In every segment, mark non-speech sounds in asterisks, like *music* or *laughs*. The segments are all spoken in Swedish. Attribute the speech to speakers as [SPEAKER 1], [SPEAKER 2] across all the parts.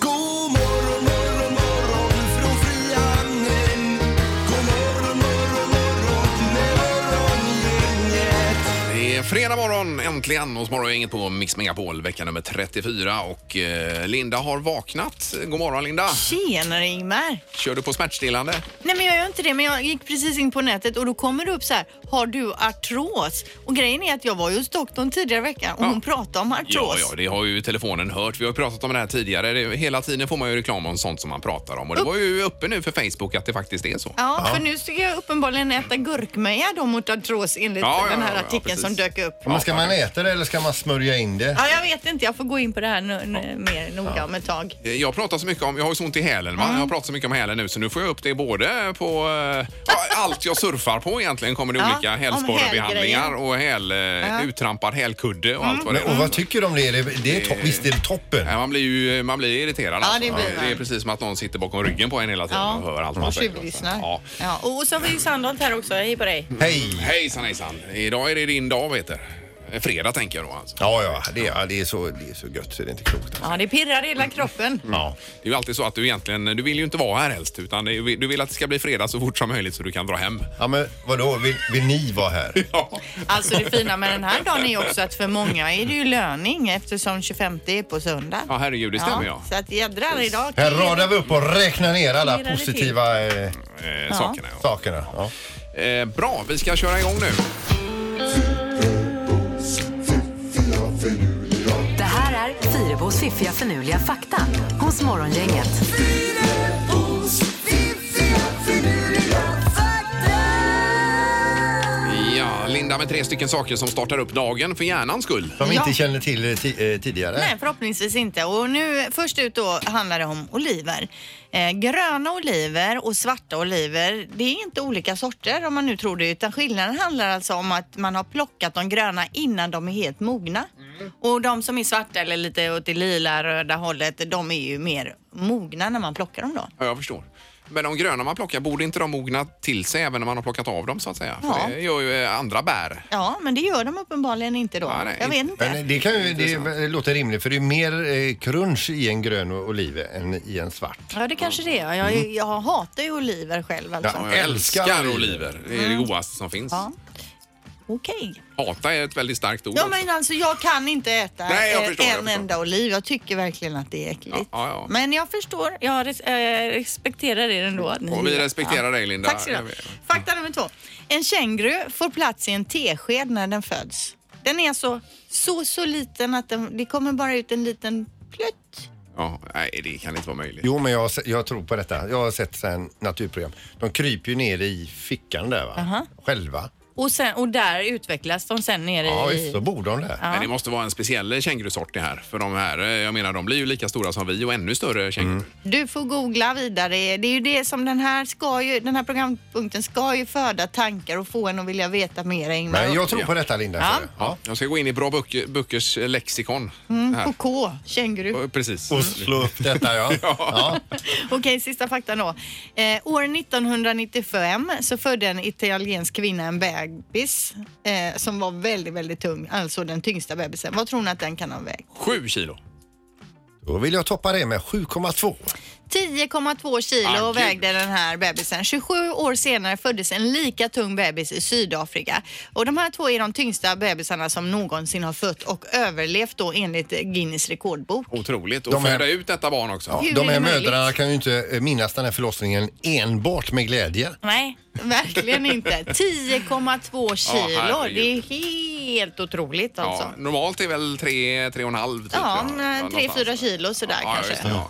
[SPEAKER 1] God morgon morgon morgon från Frihamnen. God morgon morgon morgon morgongänget.
[SPEAKER 2] Det är fredag morgon äntligen hos Morgongänget på Mix Megapol vecka nummer 34 och eh, Linda har vaknat. God morgon Linda!
[SPEAKER 3] Tjenare Ingmar!
[SPEAKER 2] Kör du på smärtstillande?
[SPEAKER 3] Nej men jag gör inte det men jag gick precis in på nätet och då kommer det upp så här, har du artros? Och grejen är att jag var ju hos doktorn tidigare i veckan och
[SPEAKER 2] Ja.
[SPEAKER 3] hon pratade om
[SPEAKER 2] Ja,
[SPEAKER 3] artros.
[SPEAKER 2] ja, det har ju telefonen hört. Vi har ju pratat om det här tidigare. Det, hela tiden får man ju reklam om sånt som man pratar om och det var ju uppe nu för Facebook att det faktiskt är så.
[SPEAKER 3] Ja, för nu ska jag uppenbarligen äta gurkmeja då mot artros enligt
[SPEAKER 2] Ja, ja,
[SPEAKER 3] den här
[SPEAKER 2] ja, ja,
[SPEAKER 3] artikeln
[SPEAKER 2] precis.
[SPEAKER 3] som dök upp.
[SPEAKER 4] Men ska man äta det eller ska man smörja in det?
[SPEAKER 3] Ja, jag vet inte. Jag får gå in på det här nu, nu, mer noga om ett tag.
[SPEAKER 2] Eh, Jag pratar så mycket om, jag har ju så ont i hälen va? Jag pratar så mycket om hälen nu så nu får jag upp det både på eh, *laughs* ja, allt jag surfar på egentligen kommer det
[SPEAKER 3] Ja,
[SPEAKER 2] olika
[SPEAKER 3] om
[SPEAKER 2] hälsporrbehandlingar
[SPEAKER 3] hälgrejer.
[SPEAKER 2] och häl, eh, uttrampad hälkudde och allt vad det
[SPEAKER 4] Men,
[SPEAKER 2] är.
[SPEAKER 4] och vad tycker du om det? det, är- det är to- visst är det toppen?
[SPEAKER 2] Nej, man blir ju man blir irriterad.
[SPEAKER 3] Ja,
[SPEAKER 2] alltså.
[SPEAKER 3] det blir man.
[SPEAKER 2] det är precis som att någon sitter bakom ryggen på en hela tiden
[SPEAKER 3] Ja,
[SPEAKER 2] och hör allt man
[SPEAKER 3] och
[SPEAKER 2] säger.
[SPEAKER 3] tjuvlyssnar.
[SPEAKER 2] Ja.
[SPEAKER 3] Ja, och så har vi ju Sandholt här också. Hej på dig.
[SPEAKER 4] Hej!
[SPEAKER 2] Hejsan, hejsan. Idag är det din dag, Peter. Eh, Fredag tänker jag då alltså.
[SPEAKER 4] Ja, ja, det, ja det, är så, det är så gött så det är inte klokt.
[SPEAKER 3] Ja, det pirrar i hela kroppen.
[SPEAKER 4] Ja.
[SPEAKER 2] Det är ju alltid så att du egentligen, du vill ju inte vara här helst utan det är- du vill att det ska bli fredag så fort som möjligt så du kan dra hem.
[SPEAKER 4] ja, men vadå? Vill, vill ni vara
[SPEAKER 3] *laughs*
[SPEAKER 4] här?
[SPEAKER 2] Ja,
[SPEAKER 3] Alltså det fina med den här dagen är ju också att för många är det ju löning eftersom 25 är på söndag.
[SPEAKER 2] ja herregud, det stämmer ja.
[SPEAKER 3] Ja, Så att jädrar idag.
[SPEAKER 4] Här radar vi upp och räknar ner alla
[SPEAKER 3] Räknar det till.
[SPEAKER 4] positiva eh,
[SPEAKER 2] Eh, Sakerna ja.
[SPEAKER 4] sakerna. Ja.
[SPEAKER 2] Eh, bra, vi ska köra igång nu.
[SPEAKER 5] Det här är Fyrabos fiffiga förnuliga fakta hos Morgongänget.
[SPEAKER 1] Fyrebos fiffiga finurliga fakta.
[SPEAKER 2] Ja, Linda med tre stycken saker som startar upp dagen för hjärnans skull.
[SPEAKER 4] Som vi inte
[SPEAKER 3] Ja.
[SPEAKER 4] känner till eh, ti- eh, tidigare.
[SPEAKER 3] Nej, förhoppningsvis inte. Och nu först ut då handlar det om oliver. Eh, gröna oliver och svarta oliver, det är inte olika sorter om man nu tror det, utan skillnaden handlar alltså om att man har plockat de gröna innan de är helt mogna.
[SPEAKER 2] Mm.
[SPEAKER 3] Och de som är svarta eller lite åt det lila, röda hållet, de är ju mer mogna när man plockar dem då.
[SPEAKER 2] Ja, jag förstår. Men de gröna man plockar, borde inte de mogna till sig även när man har plockat av dem så att säga?
[SPEAKER 3] Ja.
[SPEAKER 2] För det gör ju eh, andra bär.
[SPEAKER 3] Ja, men det gör de uppenbarligen inte då.
[SPEAKER 2] Ja, nej,
[SPEAKER 3] Jag vet
[SPEAKER 2] inte.
[SPEAKER 3] inte.
[SPEAKER 4] Men det kan ju det låter rimligt för det är mer eh, crunch i en grön oliv än i en svart.
[SPEAKER 3] Ja, det kanske det är. Jag,
[SPEAKER 2] Mm.
[SPEAKER 3] jag hatar ju oliver själv alltså.
[SPEAKER 4] Ja.
[SPEAKER 2] Jag älskar,
[SPEAKER 4] Älskar
[SPEAKER 2] oliver. Det är det godaste som finns.
[SPEAKER 3] Mm. Ja. Okej.
[SPEAKER 2] Hata är ett väldigt starkt ord.
[SPEAKER 3] Ja
[SPEAKER 2] också.
[SPEAKER 3] men alltså jag kan inte äta
[SPEAKER 2] Nej, jag
[SPEAKER 3] eh,
[SPEAKER 2] förstår, jag
[SPEAKER 3] en
[SPEAKER 2] förstår.
[SPEAKER 3] enda oliv. Jag tycker verkligen att det är äckligt.
[SPEAKER 2] Ja, ja, ja.
[SPEAKER 3] Men jag förstår. Jag res- eh, respekterar er ändå. att ni-
[SPEAKER 2] Och vi respekterar dig, Linda.
[SPEAKER 3] Tack så du ha.
[SPEAKER 2] Jag vet.
[SPEAKER 3] Fakta nummer två. En känguru får plats i en tesked när den föds. Den är så, så, så liten att den, det kommer bara ut en liten plutt.
[SPEAKER 2] Ja, nej, det kan inte vara möjligt.
[SPEAKER 4] Jo, men jag, har se- jag tror på detta. Jag har sett så här naturprogram. De kryper ju ner i fickan där va? Själva.
[SPEAKER 3] Och, sen, och där utvecklas de sen nere
[SPEAKER 4] Ja,
[SPEAKER 3] i...
[SPEAKER 4] visst, så bor de där.
[SPEAKER 2] Men det måste vara en speciell kängurusort det här. För de här, eh, jag menar, de blir ju lika stora som vi och ännu större kängurur.
[SPEAKER 3] Du får googla vidare. Det är ju det som den här ska ju, den här programpunkten ska ju föda tankar och få en att vilja veta mer Ingmar.
[SPEAKER 4] Men jag tror på detta Linda.
[SPEAKER 3] Ja.
[SPEAKER 4] ser du.
[SPEAKER 2] Ja. Jag ska gå in i Bra Böcker- Böckers eh, lexikon. Här.
[SPEAKER 3] Och Mm, K, känguru.
[SPEAKER 2] Eh, Precis.
[SPEAKER 4] Och slå upp detta *laughs* ja. ja.
[SPEAKER 3] Okej, sista faktan då. Eh, år 1995 så födde en italiensk kvinna en bebis eh, som var väldigt, väldigt tung. Alltså den tyngsta bebisen. Vad tror ni att den kan ha vägt?
[SPEAKER 2] Sju kilo.
[SPEAKER 4] Då vill jag toppa det med 7,2.
[SPEAKER 3] 10,2 kilo
[SPEAKER 2] Ah,
[SPEAKER 3] och
[SPEAKER 2] gud.
[SPEAKER 3] vägde den här bebisen. 27 år senare föddes en lika tung bebis i Sydafrika. Och de här två är de tyngsta bebisarna som någonsin har fött och överlevt då enligt Guinness rekordbok.
[SPEAKER 2] Otroligt. Och
[SPEAKER 4] De är-
[SPEAKER 2] föda ut detta barn också.
[SPEAKER 4] Ja.
[SPEAKER 3] Hur
[SPEAKER 4] De
[SPEAKER 3] är det
[SPEAKER 4] här
[SPEAKER 3] möjligt?
[SPEAKER 4] mödrarna kan ju inte eh, minnas den här förlossningen enbart med glädje.
[SPEAKER 3] Nej, verkligen inte.
[SPEAKER 2] *laughs*
[SPEAKER 3] 10,2
[SPEAKER 2] Ja,
[SPEAKER 3] kilo.
[SPEAKER 2] herregud.
[SPEAKER 3] det är helt otroligt alltså.
[SPEAKER 2] Ja, normalt är väl tre, tre och en halv. Typ,
[SPEAKER 3] Ja,
[SPEAKER 2] Ja,
[SPEAKER 3] men tre,
[SPEAKER 2] någonstans.
[SPEAKER 3] fyra kilo sådär
[SPEAKER 2] Ja,
[SPEAKER 3] kanske.
[SPEAKER 2] just det, ja.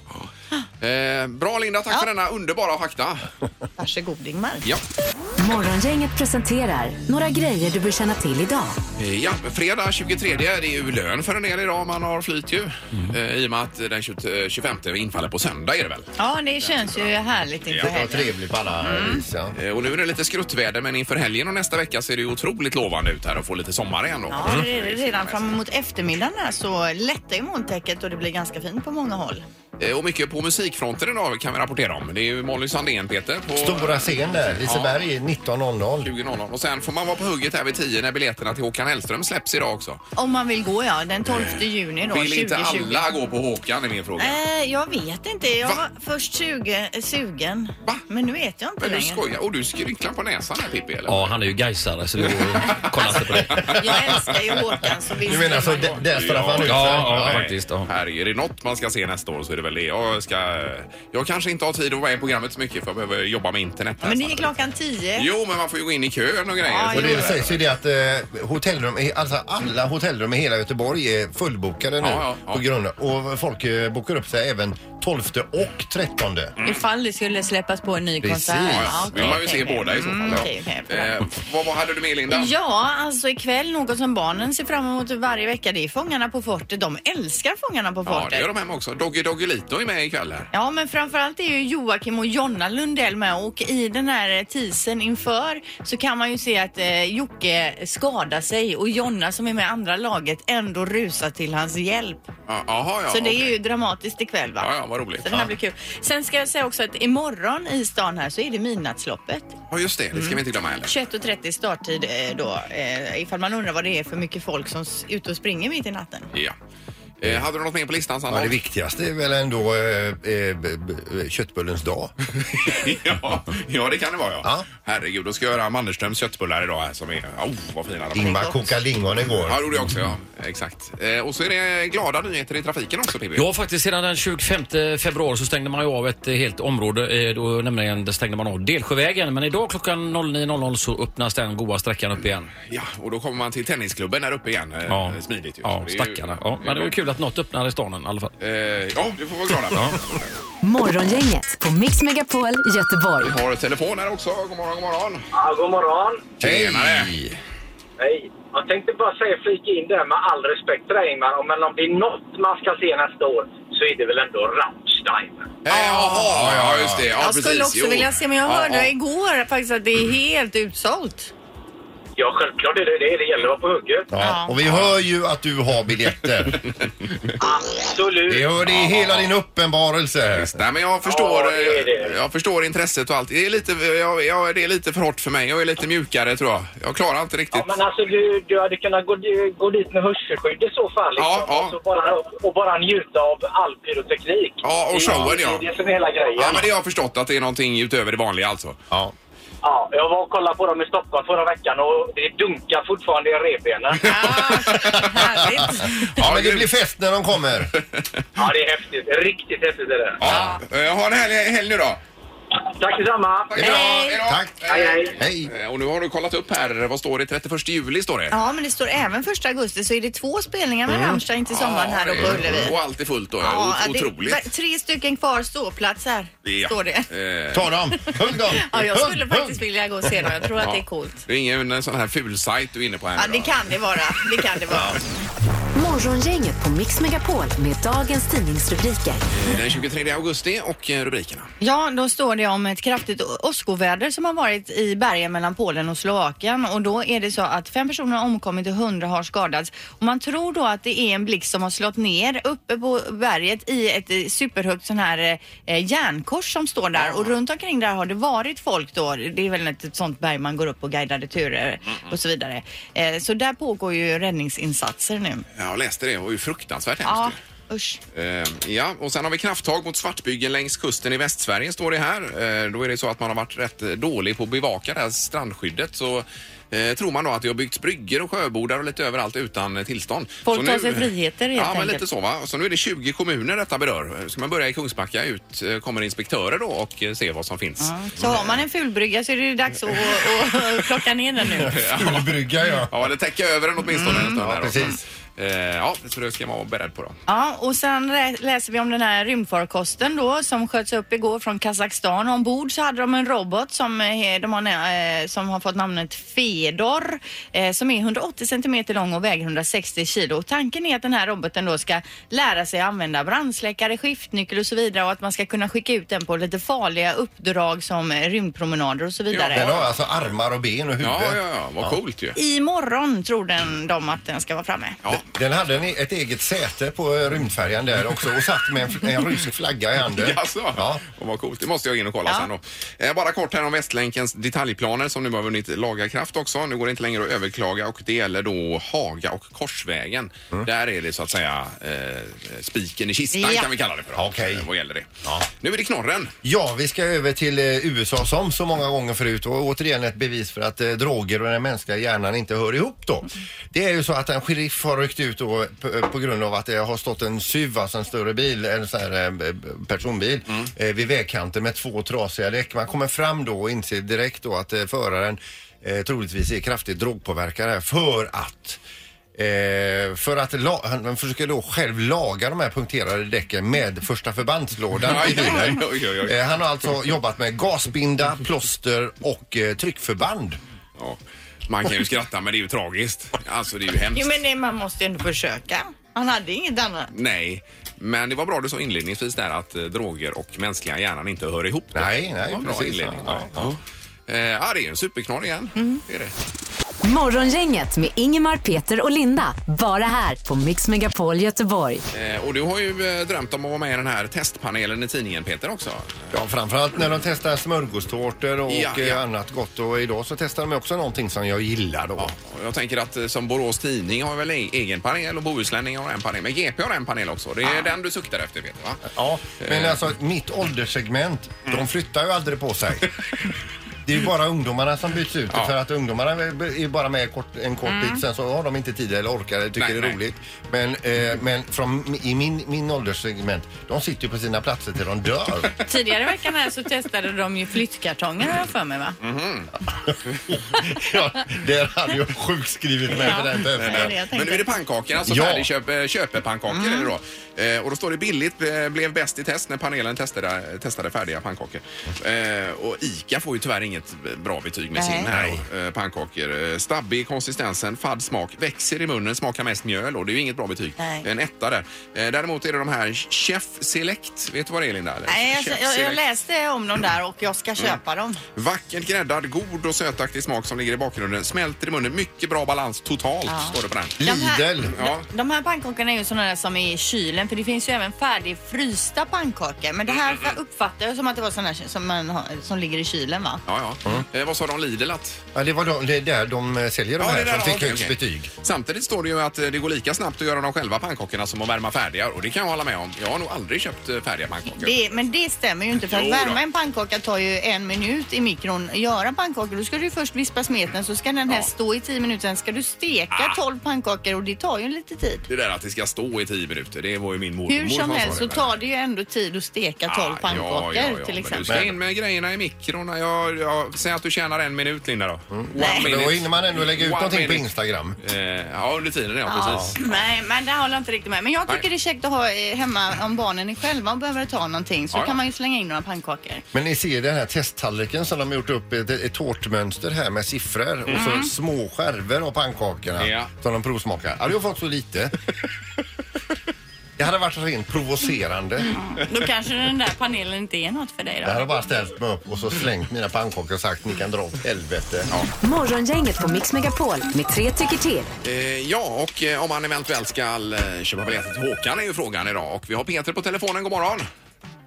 [SPEAKER 2] Eh, bra Linda, tack för denna underbara fakta.
[SPEAKER 3] Varsågod Ingmar.
[SPEAKER 2] Ja.
[SPEAKER 5] Morgongänget presenterar några grejer du bör känna till idag.
[SPEAKER 2] Eh, Ja, fredag 23, det är ju lön för en del idag. Man har flyt ju.
[SPEAKER 3] Mm.
[SPEAKER 2] Eh, I och med att den 20 25 infaller på söndag är det väl.
[SPEAKER 3] Ja, det känns ju härligt inför
[SPEAKER 4] Det var
[SPEAKER 3] helgen.
[SPEAKER 4] trevligt på alla
[SPEAKER 3] Mm.
[SPEAKER 4] vis. Ja.
[SPEAKER 2] Eh, Och nu är det lite skruttväder men inför helgen och nästa vecka ser det ju otroligt lovande ut här och får lite sommar igen då.
[SPEAKER 3] Ja, det är redan fram emot eftermiddagen här så lättar ju molntäcket och det blir ganska fint på många håll.
[SPEAKER 2] Eh, Och mycket på musikfronten idag kan vi rapportera om. Det är ju Molly Sandén, Peter, på
[SPEAKER 4] Stora scen där, Liseberg 19.00.
[SPEAKER 2] 20.00. Och sen får man vara på hugget här vid 10 när biljetterna till Håkan Hellström släpps idag också.
[SPEAKER 3] Om man vill gå ja, den 12 juni då,
[SPEAKER 2] Vill inte
[SPEAKER 3] 2020.
[SPEAKER 2] alla gå på Håkan är min fråga.
[SPEAKER 3] Eh, jag vet inte. Jag
[SPEAKER 2] Va?
[SPEAKER 3] var först 20 sugen.
[SPEAKER 2] Va?
[SPEAKER 3] Men nu vet jag inte
[SPEAKER 2] Men du
[SPEAKER 3] längre.
[SPEAKER 2] skojar? Och du skrynklar på näsan här Pippi eller?
[SPEAKER 6] Ja, han är ju gaisare så det går kolla inte på det.
[SPEAKER 2] *laughs*
[SPEAKER 3] Jag älskar ju Håkan så visst
[SPEAKER 4] Du menar
[SPEAKER 3] vill
[SPEAKER 4] så
[SPEAKER 3] man
[SPEAKER 4] d-
[SPEAKER 3] gå.
[SPEAKER 4] där straffar han ut
[SPEAKER 6] Ja, ja
[SPEAKER 4] sig?
[SPEAKER 6] faktiskt. Ja.
[SPEAKER 2] Här är det något man ska se nästa år så är det väl det. Jag, ska, jag kanske inte har tid att vara med i programmet så mycket för jag behöver jobba med internet. här
[SPEAKER 3] Men det är
[SPEAKER 2] samtidigt.
[SPEAKER 3] klockan 10.
[SPEAKER 2] Jo, men man får ju gå in i kön och grejer.
[SPEAKER 3] Ja,
[SPEAKER 2] Så
[SPEAKER 4] Och
[SPEAKER 2] det-
[SPEAKER 4] det sägs ju det att eh, hotellrum, i- alltså alla hotellrum i hela Göteborg är fullbokade nu.
[SPEAKER 2] Ja, ja, ja.
[SPEAKER 4] På grund av, och folk eh, bokar upp sig även 12 och 13.
[SPEAKER 2] Mm.
[SPEAKER 3] Ifall det skulle släppas på en ny
[SPEAKER 4] Precis.
[SPEAKER 3] konsert.
[SPEAKER 2] Ja, ja.
[SPEAKER 3] okej,
[SPEAKER 2] vill man ju
[SPEAKER 3] okej,
[SPEAKER 2] se
[SPEAKER 3] okej.
[SPEAKER 2] båda i så fall.
[SPEAKER 3] Mm,
[SPEAKER 2] ja.
[SPEAKER 3] okej, okej, bra.
[SPEAKER 2] eh, vad, vad hade du med Linda?
[SPEAKER 3] Ja, alltså ikväll något som barnen ser fram emot varje vecka det är Fångarna på fortet. De älskar Fångarna på
[SPEAKER 2] Ja, det
[SPEAKER 3] fortet.
[SPEAKER 2] gör de hemma också. Doggy Doggelito är med ikväll här.
[SPEAKER 3] Ja, men framförallt är ju Joakim och Jonna Lundell med och i den här tisen inför så kan man ju se att eh, Jocke skadar sig och Jonna som är med i andra laget ändå rusar till hans hjälp.
[SPEAKER 2] Ja, Jaha, ja.
[SPEAKER 3] så det är
[SPEAKER 2] okej.
[SPEAKER 3] ju dramatiskt ikväll va?
[SPEAKER 2] Ja, ja, vad roligt.
[SPEAKER 3] Så det här
[SPEAKER 2] Ja.
[SPEAKER 3] blir kul. Sen ska jag säga också att imorgon i stan här så är det midnattsloppet.
[SPEAKER 2] Ja, just det. Det ska vi inte glömma heller.
[SPEAKER 3] 21.30 starttid eh, då eh, ifall man undrar vad det är för mycket folk som s- ute och springer mitt i natten.
[SPEAKER 2] Ja. Eh, hade du något mer på listan, Sandra?
[SPEAKER 4] Ja, det viktigaste är väl ändå eh, eh, b- b-
[SPEAKER 2] *laughs*
[SPEAKER 4] köttbullens dag.
[SPEAKER 2] *laughs* ja, ja, det kan det vara, ja.
[SPEAKER 4] Ja.
[SPEAKER 2] Herregud, då ska jag göra Mannerströms köttbullar idag här som är... Oh, vad fina de är.
[SPEAKER 4] Ingmar kokade lingon igår.
[SPEAKER 2] Ja, det gjorde jag också, ja. Exakt. Eh, och så är det glada nyheter i trafiken också, Pippi.
[SPEAKER 6] Ja, faktiskt sedan den 25 februari så stängde man ju av ett eh, helt område. eh, Då, nämligen där stängde man av Delsjövägen. Men idag klockan 09.00 så öppnas den goa sträckan upp igen.
[SPEAKER 2] Ja, och då kommer man till tennisklubben där uppe igen. eh,
[SPEAKER 6] Ja.
[SPEAKER 2] Smidigt ju.
[SPEAKER 6] Ja,
[SPEAKER 2] Så det är ju-
[SPEAKER 6] stackarna. Ja, men det var ju kul att något öppnar i staden i alla fall.
[SPEAKER 2] Eh, ja, det får vi vara glada för.
[SPEAKER 5] Morgongänget på Mix Megapol Göteborg.
[SPEAKER 2] Vi har telefon här också. God morgon, god morgon.
[SPEAKER 7] Ja, god morgon.
[SPEAKER 2] Tjenare!
[SPEAKER 7] Hej. Jag tänkte bara säga, flika in där med all respekt till dig Ingmar, men om det är något man ska se nästa år så är det väl ändå Rammstein.
[SPEAKER 2] Eh,
[SPEAKER 6] Ah.
[SPEAKER 2] Jaha, ja just det. Ja,
[SPEAKER 3] jag
[SPEAKER 2] precis.
[SPEAKER 3] skulle också
[SPEAKER 2] Jo.
[SPEAKER 3] vilja se, men jag
[SPEAKER 2] Ja,
[SPEAKER 3] hörde
[SPEAKER 2] ja.
[SPEAKER 3] igår faktiskt att det är helt utsålt.
[SPEAKER 7] Ja, självklart är det det. Det gäller att vara på hugget.
[SPEAKER 4] Ja. Och vi hör ju att du har
[SPEAKER 2] *laughs*
[SPEAKER 4] biljetter.
[SPEAKER 7] Absolut.
[SPEAKER 4] Vi hör det i hela din uppenbarelse.
[SPEAKER 2] Visst, Nej, men jag förstår,
[SPEAKER 7] Ja, det är
[SPEAKER 2] eh,
[SPEAKER 7] det.
[SPEAKER 2] jag förstår intresset och allt. Det är, lite, jag, jag, det är lite för hårt för mig. Jag är lite mjukare tror jag. Jag klarar inte riktigt.
[SPEAKER 7] Ja, men alltså du, du hade kunnat gå, gå dit med hörselskydd i så fall. Liksom,
[SPEAKER 2] Ja, ja.
[SPEAKER 7] Och, så bara, och bara njuta av all pyroteknik.
[SPEAKER 2] Ja, och
[SPEAKER 7] Det-
[SPEAKER 2] showen, ja.
[SPEAKER 7] Det är det som är hela grejen.
[SPEAKER 2] Ja, men det har jag förstått att det är någonting utöver det vanliga alltså.
[SPEAKER 4] Ja.
[SPEAKER 7] Ja, jag var och kollade på dem i Stockholm förra veckan och det dunkar fortfarande
[SPEAKER 2] *laughs*
[SPEAKER 7] i revbenen.
[SPEAKER 3] Härligt.
[SPEAKER 4] ja, men det blir fest när de kommer.
[SPEAKER 7] ja, det är häftigt. Riktigt häftigt är det.
[SPEAKER 2] Ja. Eh, Ha en härlig helg nu då.
[SPEAKER 7] Tack detsamma!
[SPEAKER 2] Tack idag. Idag.
[SPEAKER 4] Tack.
[SPEAKER 7] Hej, hej.
[SPEAKER 4] Hej.
[SPEAKER 2] Eh, Och nu har du kollat upp här, vad står det? 31 juli står det.
[SPEAKER 3] Ja, men det står även 1 augusti så är det två spelningar med Rammstein till sommaren här då
[SPEAKER 2] det-
[SPEAKER 3] på Ullevi.
[SPEAKER 2] Eh, Och allt är fullt då.
[SPEAKER 3] Ja,
[SPEAKER 2] Ja,
[SPEAKER 3] det-
[SPEAKER 2] Otroligt.
[SPEAKER 3] Tre stycken kvar ståplatser,
[SPEAKER 2] Ja.
[SPEAKER 3] står det.
[SPEAKER 2] Eh,
[SPEAKER 4] Ta dem. Hugg dem.
[SPEAKER 3] Ja, jag skulle
[SPEAKER 4] Hugg,
[SPEAKER 3] faktiskt
[SPEAKER 4] hugg.
[SPEAKER 3] vilja gå och se dem. Jag tror att det är
[SPEAKER 2] ja.
[SPEAKER 3] coolt.
[SPEAKER 2] Det är ingen eh, sån här ful sajt du är inne på här
[SPEAKER 3] Ja,
[SPEAKER 2] nu
[SPEAKER 3] det
[SPEAKER 2] då.
[SPEAKER 3] kan det vara. Det kan det vara.
[SPEAKER 5] Morgongänget på Mix Megapol med dagens tidningsrubriker.
[SPEAKER 2] Den 23 augusti och eh, rubrikerna.
[SPEAKER 3] Ja, då står det om ett kraftigt å- åskoväder som har varit i bergen mellan Polen och Slovakien och då är det så att fem personer har omkommit och hundra har skadats. Och man tror då att det är en blixt som har slått ner uppe på berget i ett eh, superhögt sån här eh, järnkors som står där och runt omkring där har det varit folk då. Det är väl ett, ett sånt berg man går upp och guidade turer och så vidare. Eh, så där pågår ju räddningsinsatser nu.
[SPEAKER 2] Jag läste det, det var ju fruktansvärt
[SPEAKER 3] Ja,
[SPEAKER 2] hemskt. ju.
[SPEAKER 3] usch.
[SPEAKER 2] Eh, ja, och sen har vi krafttag mot svartbyggen längs kusten i Västsverige står det här. Eh, då är det så att man har varit rätt eh, dålig på att bevaka det här strandskyddet. Så eh, tror man då att det har byggts bryggor och sjöbordar och lite överallt utan eh, tillstånd.
[SPEAKER 3] Folk
[SPEAKER 2] Så
[SPEAKER 3] tar sig friheter, helt
[SPEAKER 2] Ja, men
[SPEAKER 3] enkelt.
[SPEAKER 2] lite så va. Så nu är det 20 kommuner detta berör. Eh, Ska man börja i Kungsbacka ut eh, kommer inspektörer då och eh, se vad som finns.
[SPEAKER 3] Så har man en fulbrygga så är det ju dags att, att, att plocka ner den nu.
[SPEAKER 4] Fulbrygga, *laughs* ja.
[SPEAKER 2] Ja, eller täcka över den åtminstone en stund. här då.
[SPEAKER 4] precis.
[SPEAKER 2] Eh, Eh, ja, så det ska man vara beredd på då.
[SPEAKER 3] Ja, och sen rä- läser vi om den här rymdfarkosten då som sköts upp igår från Kazakstan. Ombord så hade de en robot som, eh, de har, nä- eh, som har fått namnet Fedor eh, som är 180 centimeter lång och väger 160 kilo. Tanken är att den här roboten då ska lära sig använda brandsläckare, skiftnyckel och så vidare och att man ska kunna skicka ut den på lite farliga uppdrag som eh, rymdpromenader och så vidare.
[SPEAKER 4] Den har alltså armar och ben och huvud.
[SPEAKER 2] Ja, ja, ja. Vad coolt ju.
[SPEAKER 3] Imorgon tror den de att den ska vara framme.
[SPEAKER 4] Den hade en, ett eget säte på eh, rymdfärjan där också och satt med en, fl- en rysk flagga i handen.
[SPEAKER 2] *laughs* Jaså? Ja. Vad coolt. Det måste jag in och kolla
[SPEAKER 3] Ja.
[SPEAKER 2] sen då. Eh, bara kort här om Västlänkens detaljplaner som nu har vunnit laga kraft också. Nu går det inte längre att överklaga och det gäller då Haga och Korsvägen. Där är det så att säga eh, spiken i kistan
[SPEAKER 3] Mm. Ja.
[SPEAKER 2] kan vi kalla det för. då.
[SPEAKER 4] Okej.
[SPEAKER 2] Eh, vad gäller det. Nu är det knorren.
[SPEAKER 4] Ja, vi ska över till eh, USA som så många gånger förut och återigen ett bevis för att eh, droger och den mänskliga hjärnan inte hör ihop då. Det är ju så att en sheriff har ryckt ut då eh, på, på grund av att det har stått en SUV, alltså en större bil, en sån här eh, personbil eh, vid vägkanten med två trasiga däck. Man kommer fram då och inser direkt då att eh, föraren eh, troligtvis är kraftigt drogpåverkad här för att Eh, för att la- han försöker då själv laga de här punkterade däcken med första förbandslådan i
[SPEAKER 2] Aj,
[SPEAKER 4] bilen.
[SPEAKER 2] *laughs* aj, aj, aj.
[SPEAKER 4] Eh, Han har alltså jobbat med gasbinda, plåster och eh, tryckförband.
[SPEAKER 2] Ja. Man kan ju skratta men det är ju tragiskt. Alltså det är ju hemskt.
[SPEAKER 3] Jo men det, man måste ju ändå försöka. Han hade inget annat.
[SPEAKER 2] Nej, men det var bra du sa inledningsvis där att eh, droger och mänskliga hjärnan inte hör ihop. då.
[SPEAKER 4] Nej, nej,
[SPEAKER 2] Det var en bra
[SPEAKER 4] precis.
[SPEAKER 2] inledning.
[SPEAKER 4] Ja,
[SPEAKER 2] Ja. Eh, ja, det är en superknorr igen. Det är det.
[SPEAKER 5] Morgongänget med Ingemar, Peter och Linda. Bara här på Mix Megapol Göteborg.
[SPEAKER 2] Eh, och du har ju eh, drömt om att vara med i den här testpanelen i tidningen Peter också.
[SPEAKER 4] Ja, framförallt när de testar smörgåstårtor och
[SPEAKER 2] Ja,
[SPEAKER 4] eh,
[SPEAKER 2] ja.
[SPEAKER 4] annat gott. Och idag så testar de också någonting som jag gillar då.
[SPEAKER 2] Och jag tänker att eh, som Borås Tidning har väl e- egen panel och Bohuslänning har en panel. Men GP har en panel också. Det är den du suktar efter Peter va?
[SPEAKER 4] Ja,
[SPEAKER 2] Eh.
[SPEAKER 4] men alltså mitt ålderssegment, de flyttar ju aldrig på sig. Det är ju bara ungdomarna som byts ut
[SPEAKER 2] Ja.
[SPEAKER 4] för att ungdomarna är ju bara med kort, en kort tid sen så har de inte tid eller orkar eller tycker
[SPEAKER 2] Nej,
[SPEAKER 4] det är
[SPEAKER 2] nej.
[SPEAKER 4] roligt. Men, eh, men från, i min, min ålderssegment, de sitter ju på sina platser till de dör.
[SPEAKER 3] Tidigare i veckan här så testade de ju flyttkartonger har jag för mig
[SPEAKER 2] Mm.
[SPEAKER 3] va?
[SPEAKER 4] ja, där hade jag sjukskrivit mig för den
[SPEAKER 3] det är det
[SPEAKER 4] testen.
[SPEAKER 3] jag
[SPEAKER 2] Men nu är det
[SPEAKER 3] tänkte. Mm.
[SPEAKER 2] pannkakor, alltså
[SPEAKER 4] Ja.
[SPEAKER 2] färdigköp, eh, köpepannkakor är det då. Eh, och då står det billigt, eh, blev bäst i test när panelen testade, testade färdiga pannkakor. Eh, och ICA får ju tyvärr inget bra betyg med sin
[SPEAKER 3] Nej.
[SPEAKER 2] här då, eh, pannkakor. Eh, Stabbig i konsistensen, fadd smak, växer i munnen, smakar mest mjöl och det är ju inget bra betyg.
[SPEAKER 3] Nej.
[SPEAKER 2] En etta där. Eh, däremot är det de här Chef Select, vet du vad det är Linda? Eller?
[SPEAKER 3] Nej,
[SPEAKER 2] Chef
[SPEAKER 3] jag, jag, jag
[SPEAKER 2] Select.
[SPEAKER 3] läste om dem där och jag
[SPEAKER 2] Mm.
[SPEAKER 3] ska köpa dem.
[SPEAKER 2] Vackert gräddad, god och sötaktig smak som ligger i bakgrunden. Smälter i munnen, mycket bra balans totalt står det på den.
[SPEAKER 4] Lidl.
[SPEAKER 2] Ja.
[SPEAKER 3] De, de här pannkakorna är ju sådana där som är i kylen för det finns ju även färdigfrysta pannkakor. Men det här
[SPEAKER 2] Mm-hmm.
[SPEAKER 3] uppfattar jag som att det var sådana här som, man har, som ligger i kylen va?
[SPEAKER 2] Ja, ja.
[SPEAKER 4] Mm.
[SPEAKER 2] Eh, vad sa de Lidl att?
[SPEAKER 4] Ja, det var de, det är där de eh, säljer de
[SPEAKER 2] Ja,
[SPEAKER 4] här
[SPEAKER 2] det där,
[SPEAKER 4] som
[SPEAKER 2] ja,
[SPEAKER 4] fick
[SPEAKER 2] okej,
[SPEAKER 4] högst
[SPEAKER 2] okej.
[SPEAKER 4] betyg.
[SPEAKER 2] Samtidigt står det ju att eh, det går lika snabbt att göra de själva pannkakorna som att värma färdiga och det kan jag hålla med om. Jag har nog aldrig köpt eh, färdiga pannkakor.
[SPEAKER 3] Det, men det stämmer ju inte för att
[SPEAKER 2] Jo då.
[SPEAKER 3] värma en pannkaka tar ju en minut i mikron. Göra pannkakor, då ska du ju först vispa smeten så ska den här
[SPEAKER 2] Ja.
[SPEAKER 3] stå i 10 minuter. Sen ska du steka
[SPEAKER 2] Ah.
[SPEAKER 3] 12 pannkakor och det tar ju lite tid.
[SPEAKER 2] Det där att det ska stå i tio minuter, det var ju min mormor
[SPEAKER 3] Hur som
[SPEAKER 2] sa
[SPEAKER 3] helst så
[SPEAKER 2] det.
[SPEAKER 3] tar det ju ändå tid att steka 12
[SPEAKER 2] Ah,
[SPEAKER 3] pannkakor till
[SPEAKER 2] Men du
[SPEAKER 3] exempel.
[SPEAKER 2] ska in med grejerna i mikron. Jag, jag, säg att du tjänar en minut Linda då. One
[SPEAKER 3] Nej.
[SPEAKER 4] Men Mm. Då hinner man ändå lägga ut
[SPEAKER 2] One
[SPEAKER 4] någonting på
[SPEAKER 2] minute.
[SPEAKER 4] Instagram.
[SPEAKER 2] Eh, ja, under tiden ja, precis.
[SPEAKER 3] Nej, men det håller jag inte riktigt med. Men jag tycker
[SPEAKER 2] Nej.
[SPEAKER 3] det är käckt att ha eh, hemma om barnen är själva och behöver ta någonting så
[SPEAKER 2] Ja, ja.
[SPEAKER 3] kan man ju slänga in några pannkakor.
[SPEAKER 4] Men ni ser den här testtallriken som de har gjort upp ett, ett tårtmönster här med siffror och så små skärvor av pannkakorna
[SPEAKER 2] Mm. Ja.
[SPEAKER 4] som de provsmakar. Hade jag fått så lite. Det hade varit rent provocerande.
[SPEAKER 2] Mm.
[SPEAKER 3] Då kanske den där panelen inte är något för dig
[SPEAKER 4] Jag hade bara ställt mig upp och så slängt mina pannkakor och sagt ni kan dra åt helvete.
[SPEAKER 5] Morgongänget på Mix Megapol med tre tycker till.
[SPEAKER 2] Eh, ja, och eh, om man eventuellt ska eh, köpa biljetter till Håkan är ju frågan idag. Och vi har Peter på telefonen. God morgon!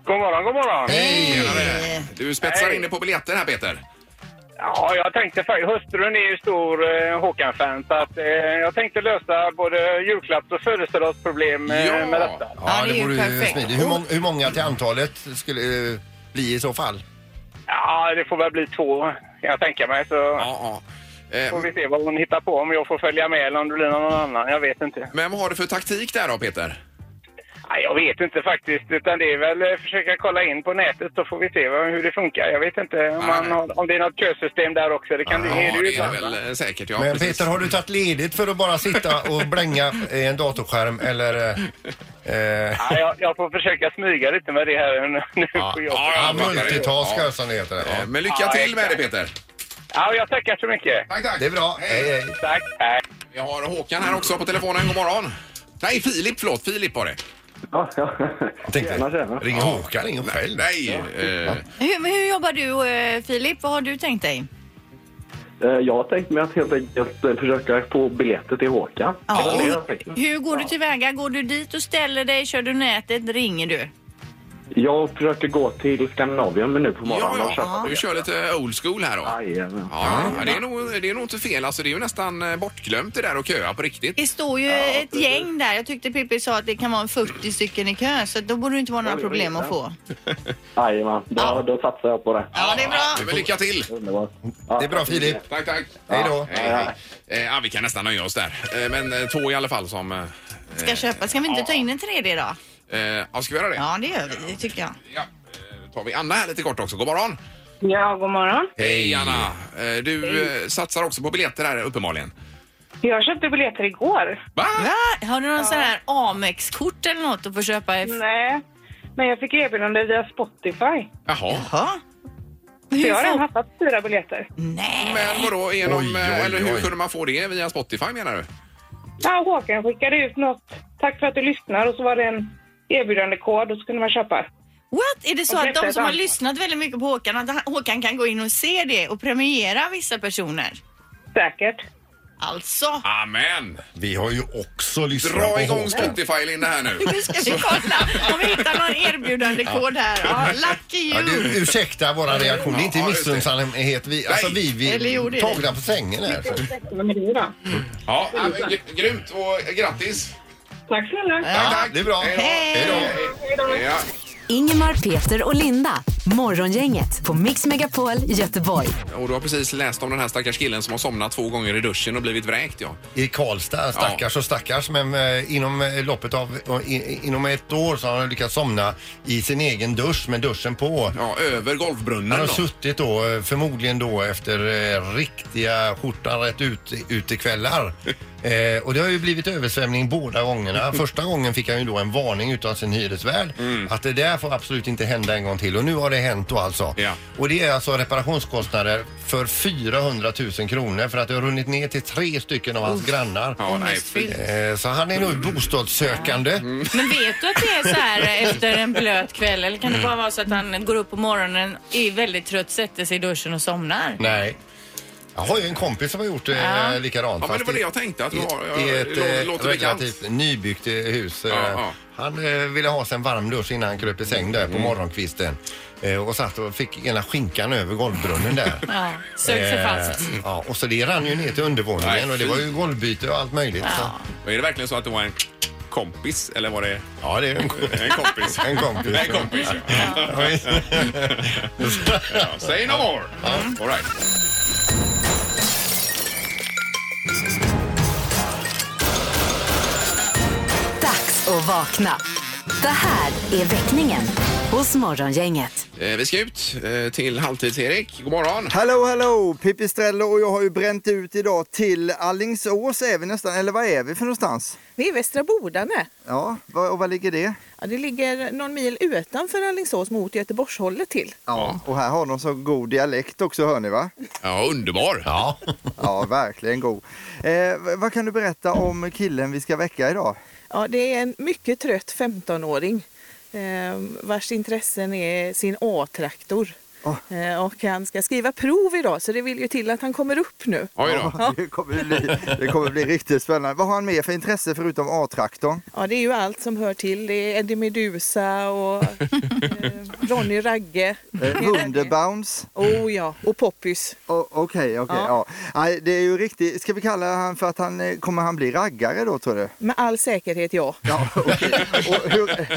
[SPEAKER 7] God morgon, god morgon.
[SPEAKER 4] Hej!
[SPEAKER 2] Tjenare. Du spetsar
[SPEAKER 7] Hej.
[SPEAKER 2] in dig på biljetter här Peter.
[SPEAKER 7] Ja, jag tänkte faktiskt, hustrun är ju stor eh, Håkan-fan så att, eh, jag tänkte lösa både julklapps och födelsedagsproblem eh,
[SPEAKER 2] Ja.
[SPEAKER 7] med detta.
[SPEAKER 3] Ja, det är ju
[SPEAKER 4] vore
[SPEAKER 3] perfekt.
[SPEAKER 4] smidigt. Hur, mång- hur många till antalet skulle eh, bli i så fall?
[SPEAKER 7] Ja, det får väl bli två kan jag tänka mig. Så
[SPEAKER 2] Ja, ja. Eh,
[SPEAKER 7] får vi se vad hon hittar på, om jag får följa med eller om det blir någon annan. Jag vet inte.
[SPEAKER 2] men vad har du för taktik där då Peter?
[SPEAKER 7] Nej, jag vet inte faktiskt, utan det är väl eh, försöka kolla in på nätet så får vi se vad, hur det funkar. Jag vet inte om, man har, om det är något kösystem där också. Det kan det, är
[SPEAKER 2] Ja,
[SPEAKER 7] det ju
[SPEAKER 2] det är
[SPEAKER 7] ibland.
[SPEAKER 2] väl eh, säkert. Ja,
[SPEAKER 4] Men
[SPEAKER 2] precis.
[SPEAKER 4] Peter, har du tagit ledigt för att bara sitta och blänga i en datorskärm eller... Eh, eh,
[SPEAKER 7] Nej, jag, jag får försöka smyga lite med det här nu, nu på jobbet.
[SPEAKER 2] ja,
[SPEAKER 4] ja,
[SPEAKER 2] Ja.
[SPEAKER 4] multitaskar alltså, som det heter.
[SPEAKER 2] Eh,
[SPEAKER 4] Ja.
[SPEAKER 2] Men lycka
[SPEAKER 7] Ja,
[SPEAKER 2] till med det
[SPEAKER 7] exakt.
[SPEAKER 2] Peter.
[SPEAKER 7] Ja, jag tackar så mycket.
[SPEAKER 2] Tack, tack.
[SPEAKER 4] Det är bra. Hej, hej.
[SPEAKER 7] Tack. Hej.
[SPEAKER 2] Vi har Håkan här också på telefonen. God morgon. Nej, Filip. Förlåt, Filip var det.
[SPEAKER 7] Ja,
[SPEAKER 4] Jag tänkte, ring Håkan, ring honom själv.
[SPEAKER 2] Nej. Eh,
[SPEAKER 3] Hur, hur jobbar du eh, Filip? Vad har du tänkt dig?
[SPEAKER 7] Eh, Jag tänkte mig att helt enkelt försöka få biljetter till Håkan.
[SPEAKER 3] Ja, hur, hur går du tillväga? Går du dit och ställer dig? Kör du nätet? Ringer du?
[SPEAKER 7] Jag försöker gå till Skandinavien nu på
[SPEAKER 2] ja, ja. Du kör lite old school här då.
[SPEAKER 7] eh,
[SPEAKER 2] Ja, ja, det, är nog, det är nog inte fel. Alltså, det är ju nästan eh, bortglömt det där att köa på riktigt.
[SPEAKER 3] Det står ju ett gäng där. Jag tyckte Pippi sa att det kan vara 40 stycken i kö så då borde det inte vara några problem att få.
[SPEAKER 7] Jajamän, då, då satsar jag på det.
[SPEAKER 3] Ja, det är bra.
[SPEAKER 2] Men lycka till!
[SPEAKER 7] Underbart.
[SPEAKER 4] Det är bra Filip.
[SPEAKER 2] Tack, tack.
[SPEAKER 4] Hej då.
[SPEAKER 2] Hej, hej. Eh, ja, vi kan nästan nöja oss där. Eh, men eh, två i alla fall som... Eh,
[SPEAKER 3] Ska köpa. Ska vi inte ta in en tredje då?
[SPEAKER 2] eh, ja, ska vi göra det?
[SPEAKER 3] Ja, det gör vi. Det tycker jag.
[SPEAKER 2] Ja. eh, tar vi Anna här lite kort också. God morgon!
[SPEAKER 7] Ja, god morgon.
[SPEAKER 2] Hej Anna! Eh, Du eh, satsar också på biljetter här uppenbarligen.
[SPEAKER 7] Jag köpte biljetter igår.
[SPEAKER 2] Va?
[SPEAKER 3] Va? Har du någon sån här Amex-kort eller något att få köpa? i-
[SPEAKER 7] Nej, men jag fick erbjudande via Spotify.
[SPEAKER 2] Jaha.
[SPEAKER 3] Jaha.
[SPEAKER 7] Så
[SPEAKER 3] Hur
[SPEAKER 7] jag har redan
[SPEAKER 3] får...
[SPEAKER 7] haft fyra biljetter.
[SPEAKER 3] Nej.
[SPEAKER 2] Men vadå, genom,
[SPEAKER 4] Oj, oj,
[SPEAKER 2] eller hur
[SPEAKER 4] oj.
[SPEAKER 2] kunde man få det? Via Spotify menar du?
[SPEAKER 7] Ja, Håkan skickade ut något. Tack för att du lyssnar. Och så var det en erbjudandekod och så kunde man köpa.
[SPEAKER 3] What? Är det så
[SPEAKER 7] Och
[SPEAKER 3] att de som
[SPEAKER 7] dessutom-
[SPEAKER 3] har lyssnat väldigt mycket på Håkan, att han- Håkan kan gå in och se det och premiera vissa personer?
[SPEAKER 7] Säkert.
[SPEAKER 3] Alltså.
[SPEAKER 2] Amen!
[SPEAKER 4] Vi har ju också lyssnat
[SPEAKER 2] Dra
[SPEAKER 4] på
[SPEAKER 2] igång
[SPEAKER 4] Håkan.
[SPEAKER 2] Spotify, Linda, här
[SPEAKER 4] *laughs*
[SPEAKER 2] nu.
[SPEAKER 3] Nu ska vi kolla om vi hittar någon erbjudandekod här. Ja, lucky
[SPEAKER 4] Ja,
[SPEAKER 3] you.
[SPEAKER 4] du, ursäkta våra reaktioner, det är inte
[SPEAKER 2] Ja, just det.
[SPEAKER 4] missunnsamhet. Vi, alltså, vi,
[SPEAKER 3] Eller
[SPEAKER 4] vi
[SPEAKER 3] gjorde det.
[SPEAKER 4] tagna på sängen här.
[SPEAKER 7] Vem är du då?
[SPEAKER 4] Mm.
[SPEAKER 2] Ja, men, gr- grymt och eh, grattis!
[SPEAKER 7] Tack snälla.
[SPEAKER 2] Tack, tack.
[SPEAKER 4] Det är bra.
[SPEAKER 2] Hej då.
[SPEAKER 3] Hej.
[SPEAKER 2] Hej då. Ja.
[SPEAKER 5] Ingemar, Peter och Linda. Morgongänget på Mix Megapol Göteborg.
[SPEAKER 2] Och du har precis läst om den här stackars killen som har somnat två gånger i duschen och blivit vräkt, ja.
[SPEAKER 4] I Karlstad, stackars och stackars, men eh, inom eh, loppet av eh, i- inom ett år så har han lyckats somna i sin egen dusch med duschen på.
[SPEAKER 2] Ja, över golvbrunnen
[SPEAKER 4] Han har
[SPEAKER 2] då.
[SPEAKER 4] suttit då, eh, förmodligen då efter eh, riktiga skjortan rätt ut, utekvällar.
[SPEAKER 2] *laughs*
[SPEAKER 4] Eh, och det har ju blivit översvämning båda gångerna. Första gången fick han ju då en varning utav sin hyresvärd
[SPEAKER 2] Mm.
[SPEAKER 4] att det där får absolut inte hända en gång till. Och nu har det hänt då alltså.
[SPEAKER 2] Ja.
[SPEAKER 4] Och det är alltså reparationskostnader för 400 000 kronor för att det har runnit ner till tre stycken av hans grannar.
[SPEAKER 2] Ja, nej, fy.
[SPEAKER 3] Ångestfyllt.
[SPEAKER 4] Eh, Så han är nog
[SPEAKER 2] Mm.
[SPEAKER 4] bostadssökande.
[SPEAKER 8] Men vet du att det är så här efter en blöt kväll? Eller kan det bara vara så att han går upp på morgonen, är väldigt trött, sätter sig i duschen och somnar?
[SPEAKER 4] Nej. Jag har ju en kompis som har gjort eh,
[SPEAKER 8] Ja.
[SPEAKER 4] likadant.
[SPEAKER 2] Ja, men det
[SPEAKER 4] fast
[SPEAKER 2] var
[SPEAKER 4] i-
[SPEAKER 2] det jag tänkte att du
[SPEAKER 4] i-
[SPEAKER 2] har.
[SPEAKER 4] I
[SPEAKER 2] Jag,
[SPEAKER 4] ett
[SPEAKER 2] det
[SPEAKER 4] eh,
[SPEAKER 2] låter bekant.
[SPEAKER 4] relativt nybyggt eh, hus. eh,
[SPEAKER 2] Ja, ja. Mm.
[SPEAKER 4] Han eh, ville ha sig en varm dusch innan han kröp i säng där på morgonkvisten. Eh, Och satt och fick ena skinkan över
[SPEAKER 2] *laughs*
[SPEAKER 4] golvbrunnen där.
[SPEAKER 8] Ja, sök sig
[SPEAKER 4] Eh,
[SPEAKER 8] fast.
[SPEAKER 4] Ja, och så det rann ju ner till
[SPEAKER 2] Nej,
[SPEAKER 4] undervåningen och det
[SPEAKER 2] fy.
[SPEAKER 4] var ju golvbyte och allt möjligt. så-
[SPEAKER 2] Och Är det verkligen så att det var en kompis eller var det
[SPEAKER 4] Ja, det är en,
[SPEAKER 2] en kompis?
[SPEAKER 4] *laughs* en kompis.
[SPEAKER 2] *laughs* En kompis. ja.
[SPEAKER 4] Ja, visst.
[SPEAKER 2] Ja, Say no more. All right.
[SPEAKER 5] Dags att vakna. Det här är väckningen hos Morgongänget.
[SPEAKER 2] Eh, Vi ska ut eh, till Halvtids-Erik. God morgon.
[SPEAKER 1] Hallå, hallå! Pippi Strello och jag har ju bränt ut idag till Allingsås är vi nästan, eller vad är vi för någonstans?
[SPEAKER 7] Vi är Västra Bodane.
[SPEAKER 1] Ja, var, och var ligger det?
[SPEAKER 7] Ja, det ligger någon mil utanför Alingsås mot Göteborgshållet till.
[SPEAKER 1] Ja. Och här har de så god dialekt också hör ni va?
[SPEAKER 2] Ja, underbar.
[SPEAKER 4] Ja.
[SPEAKER 1] Ja, verkligen god. Eh, v- vad kan du berätta om killen vi ska väcka idag?
[SPEAKER 7] Ja, det är en mycket trött 15-åring eh, vars intressen är sin A-traktor.
[SPEAKER 1] Åh.
[SPEAKER 7] Eh, och han ska skriva prov idag så det vill ju till att han kommer upp nu.
[SPEAKER 2] Oj då.
[SPEAKER 1] *laughs* Det, kommer bli, det kommer bli riktigt spännande. Vad har han mer för intresse förutom A-traktorn?
[SPEAKER 7] Ja, det är ju allt som hör till. Det är Eddie Meduza och eh, Ronny Ragge.
[SPEAKER 1] *laughs* Eh, Wunderbounce?
[SPEAKER 7] Oh ja, och Poppys.
[SPEAKER 1] O- Okej, okej. ja. Nej, det är ju riktigt. Ska vi kalla han för att han eh, kommer han bli raggare då tror du?
[SPEAKER 7] Med all säkerhet ja.
[SPEAKER 1] Ja, okej. Och hur,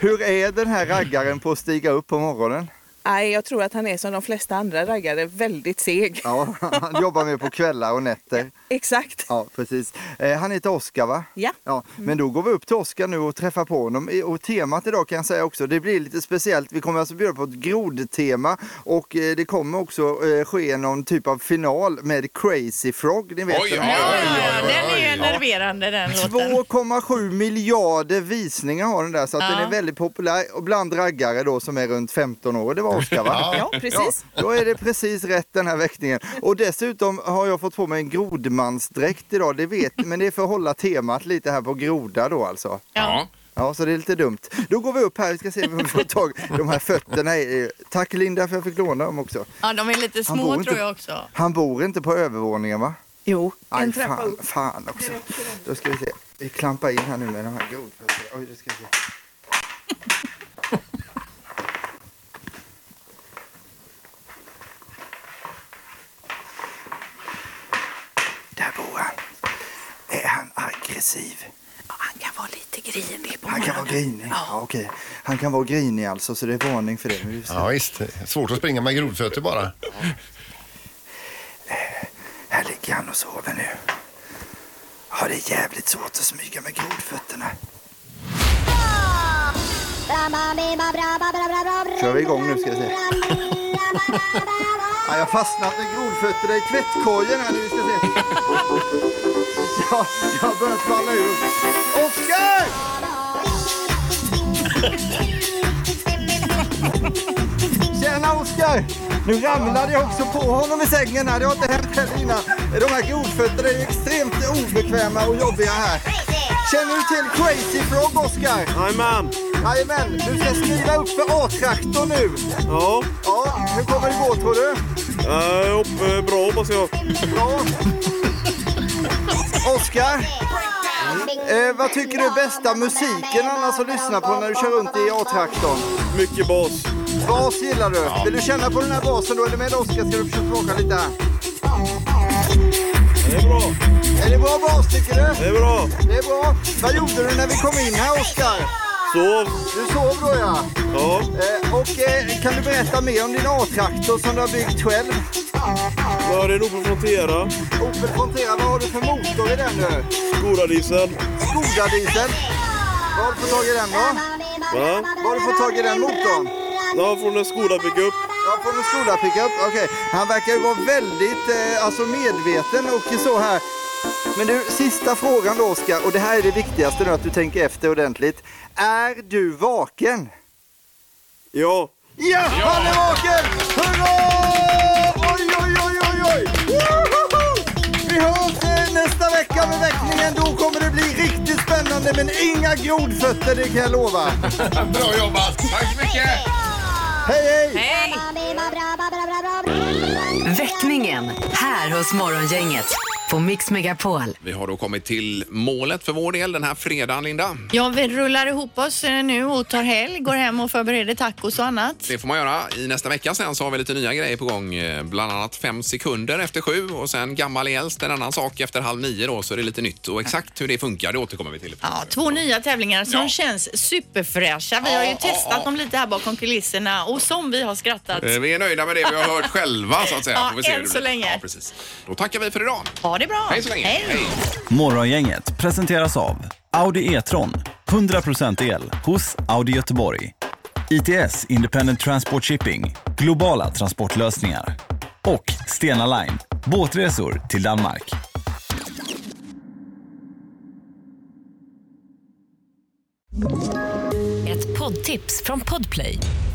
[SPEAKER 1] hur är den här raggaren på att stiga upp på morgonen?
[SPEAKER 9] Nej, jag tror att han är som de flesta andra raggare, väldigt seg.
[SPEAKER 1] Ja, han jobbar med på kvällar och nätter.
[SPEAKER 9] Exakt.
[SPEAKER 1] *laughs* Ja, precis. Eh, Han heter Oskar va?
[SPEAKER 9] Ja.
[SPEAKER 1] ja. Men då går vi upp till Oskar nu och träffar på honom. I- Och temat idag kan jag säga också, det blir lite speciellt. Vi kommer alltså bjuda på ett grodtema och eh, det kommer också eh, ske någon typ av final med Crazy Frog. Ni vet
[SPEAKER 8] Oj,
[SPEAKER 1] den
[SPEAKER 8] ja, ja, den är ju enerverande den låten.
[SPEAKER 1] 2,7 miljarder visningar har den där så att
[SPEAKER 8] Ja.
[SPEAKER 1] den är väldigt populär och bland raggare då som är runt 15 år. Det var Oskar va?
[SPEAKER 9] *laughs* Ja, precis.
[SPEAKER 1] Ja, då är det precis rätt den här väckningen. Och dessutom har jag fått på mig en grodmansdräkt idag, det vet men det är för att hålla temat lite här på groda då alltså.
[SPEAKER 2] Ja.
[SPEAKER 1] Ja, så det är lite dumt. Då går vi upp här, vi ska se om vi får tag de här fötterna. i- Tack Linda för att jag fick låna dem också.
[SPEAKER 3] Ja, de är lite
[SPEAKER 1] Han
[SPEAKER 3] små
[SPEAKER 1] bor
[SPEAKER 3] tror
[SPEAKER 1] inte-
[SPEAKER 3] jag också.
[SPEAKER 1] Han bor inte på övervåningen va?
[SPEAKER 9] Jo,
[SPEAKER 1] Aj,
[SPEAKER 3] en trappa
[SPEAKER 1] fan,
[SPEAKER 3] upp.
[SPEAKER 1] fan också. Då ska vi se. Vi klampar in här nu med de här godfötterna. Oj, det ska vi se. Där bor han. Är han aggressiv?
[SPEAKER 9] Han kan vara lite grinig på
[SPEAKER 1] Han kan vara grinig. Ja, okej. Han kan vara grinig alltså, så det är varning för det. Nu ska vi se.
[SPEAKER 4] Ja, visst. Svårt att springa med grodfötter bara.
[SPEAKER 1] Här ligger han och sover nu. Ja, det är jävligt svårt att smyga med grodfötterna. Kör vi igång nu ska vi se. Ja, jag har fastnat med grodfötterna i tvättkorgen här nu ska vi se. *laughs* Ja, jag har börjat falla ur. Oskar! *laughs* Tjena Oskar! Nu ramlade jag också på honom i sängen här. Det har inte hänt heller innan. De här grodfötterna är extremt obekväma och jobbiga här. Känner du till Crazy Frog Oskar? Jajamän! Jajamän! Du ska skriva upp för A-traktor nu. Ja. Ja, hur kommer det gå tror du? Uh, bra hoppas jag. Bra. Oskar? Eh, vad tycker du är bästa musiken annars att lyssna på när du kör runt i A-traktorn? Mycket bas. Bas gillar du. Vill du känna på den här basen då? Är du med Oskar? Ska du försöka tillbaka lite här? Det är bra. Är det bra bas tycker du? Det är bra. Det är bra. Vad gjorde du när vi kom in här Oskar? Sov. Du sov då ja. Ja. Eh, och eh, kan du berätta mer om din A-traktor som du har byggt själv? Ja, det är en Opel Frontera. Opel Frontera, vad har du för motor i den nu? Skodadiesel. Skodadiesel? Var har du fått tag i den då? Va? Var har du fått tag i den motorn? Ja, från en Skoda pickup. Ja, från en Skoda pickup. Okej. Han verkar ju vara väldigt eh, alltså medveten och så här. Men du, sista frågan då Oskar. Och det här är det viktigaste nu, att du tänker efter ordentligt. Är du vaken? Ja. Ja, han är vaken! Hurra! Oj, oj, oj, oj, oj! Woho! Vi hörs eh, nästa vecka med väckningen. Då kommer det bli riktigt spännande, men inga grodfötter, det kan jag lova.
[SPEAKER 2] Bra jobbat! Tack så mycket!
[SPEAKER 1] Hej, hej!
[SPEAKER 5] Hej! Väckningen här hos Morgongänget på Mix Megapol.
[SPEAKER 2] Vi har då kommit till målet för vår del den här fredagen, Linda.
[SPEAKER 3] Ja, vi rullar ihop oss eh, nu och tar helg, går hem och förbereder tacos och annat.
[SPEAKER 2] Det får man göra. I nästa vecka sen så har vi lite nya grejer på gång. Eh, Bland annat fem sekunder efter sju och sen gammal i äldst, en annan sak efter halv nio då, så är det lite nytt. Och exakt hur det funkar, det återkommer vi till.
[SPEAKER 3] Ja, två nya tävlingar som känns superfräscha. Vi har ju testat dem lite här bakom kulisserna och som vi har skrattat.
[SPEAKER 2] Eh, Vi är nöjda med det vi har hört själva så att säga.
[SPEAKER 3] Ja,
[SPEAKER 2] Får vi se hur
[SPEAKER 3] än
[SPEAKER 2] det
[SPEAKER 3] så
[SPEAKER 2] blir.
[SPEAKER 3] länge.
[SPEAKER 2] Ja, precis. Då tackar vi för idag.
[SPEAKER 3] Ha det bra.
[SPEAKER 2] Hej så länge.
[SPEAKER 3] Hej.
[SPEAKER 10] Morgongänget presenteras av Audi E-tron. 100% el hos Audi Göteborg. ITS Independent Transport Shipping. Globala transportlösningar. Och Stena Line. Båtresor till Danmark.
[SPEAKER 11] Ett poddtips från Podplay.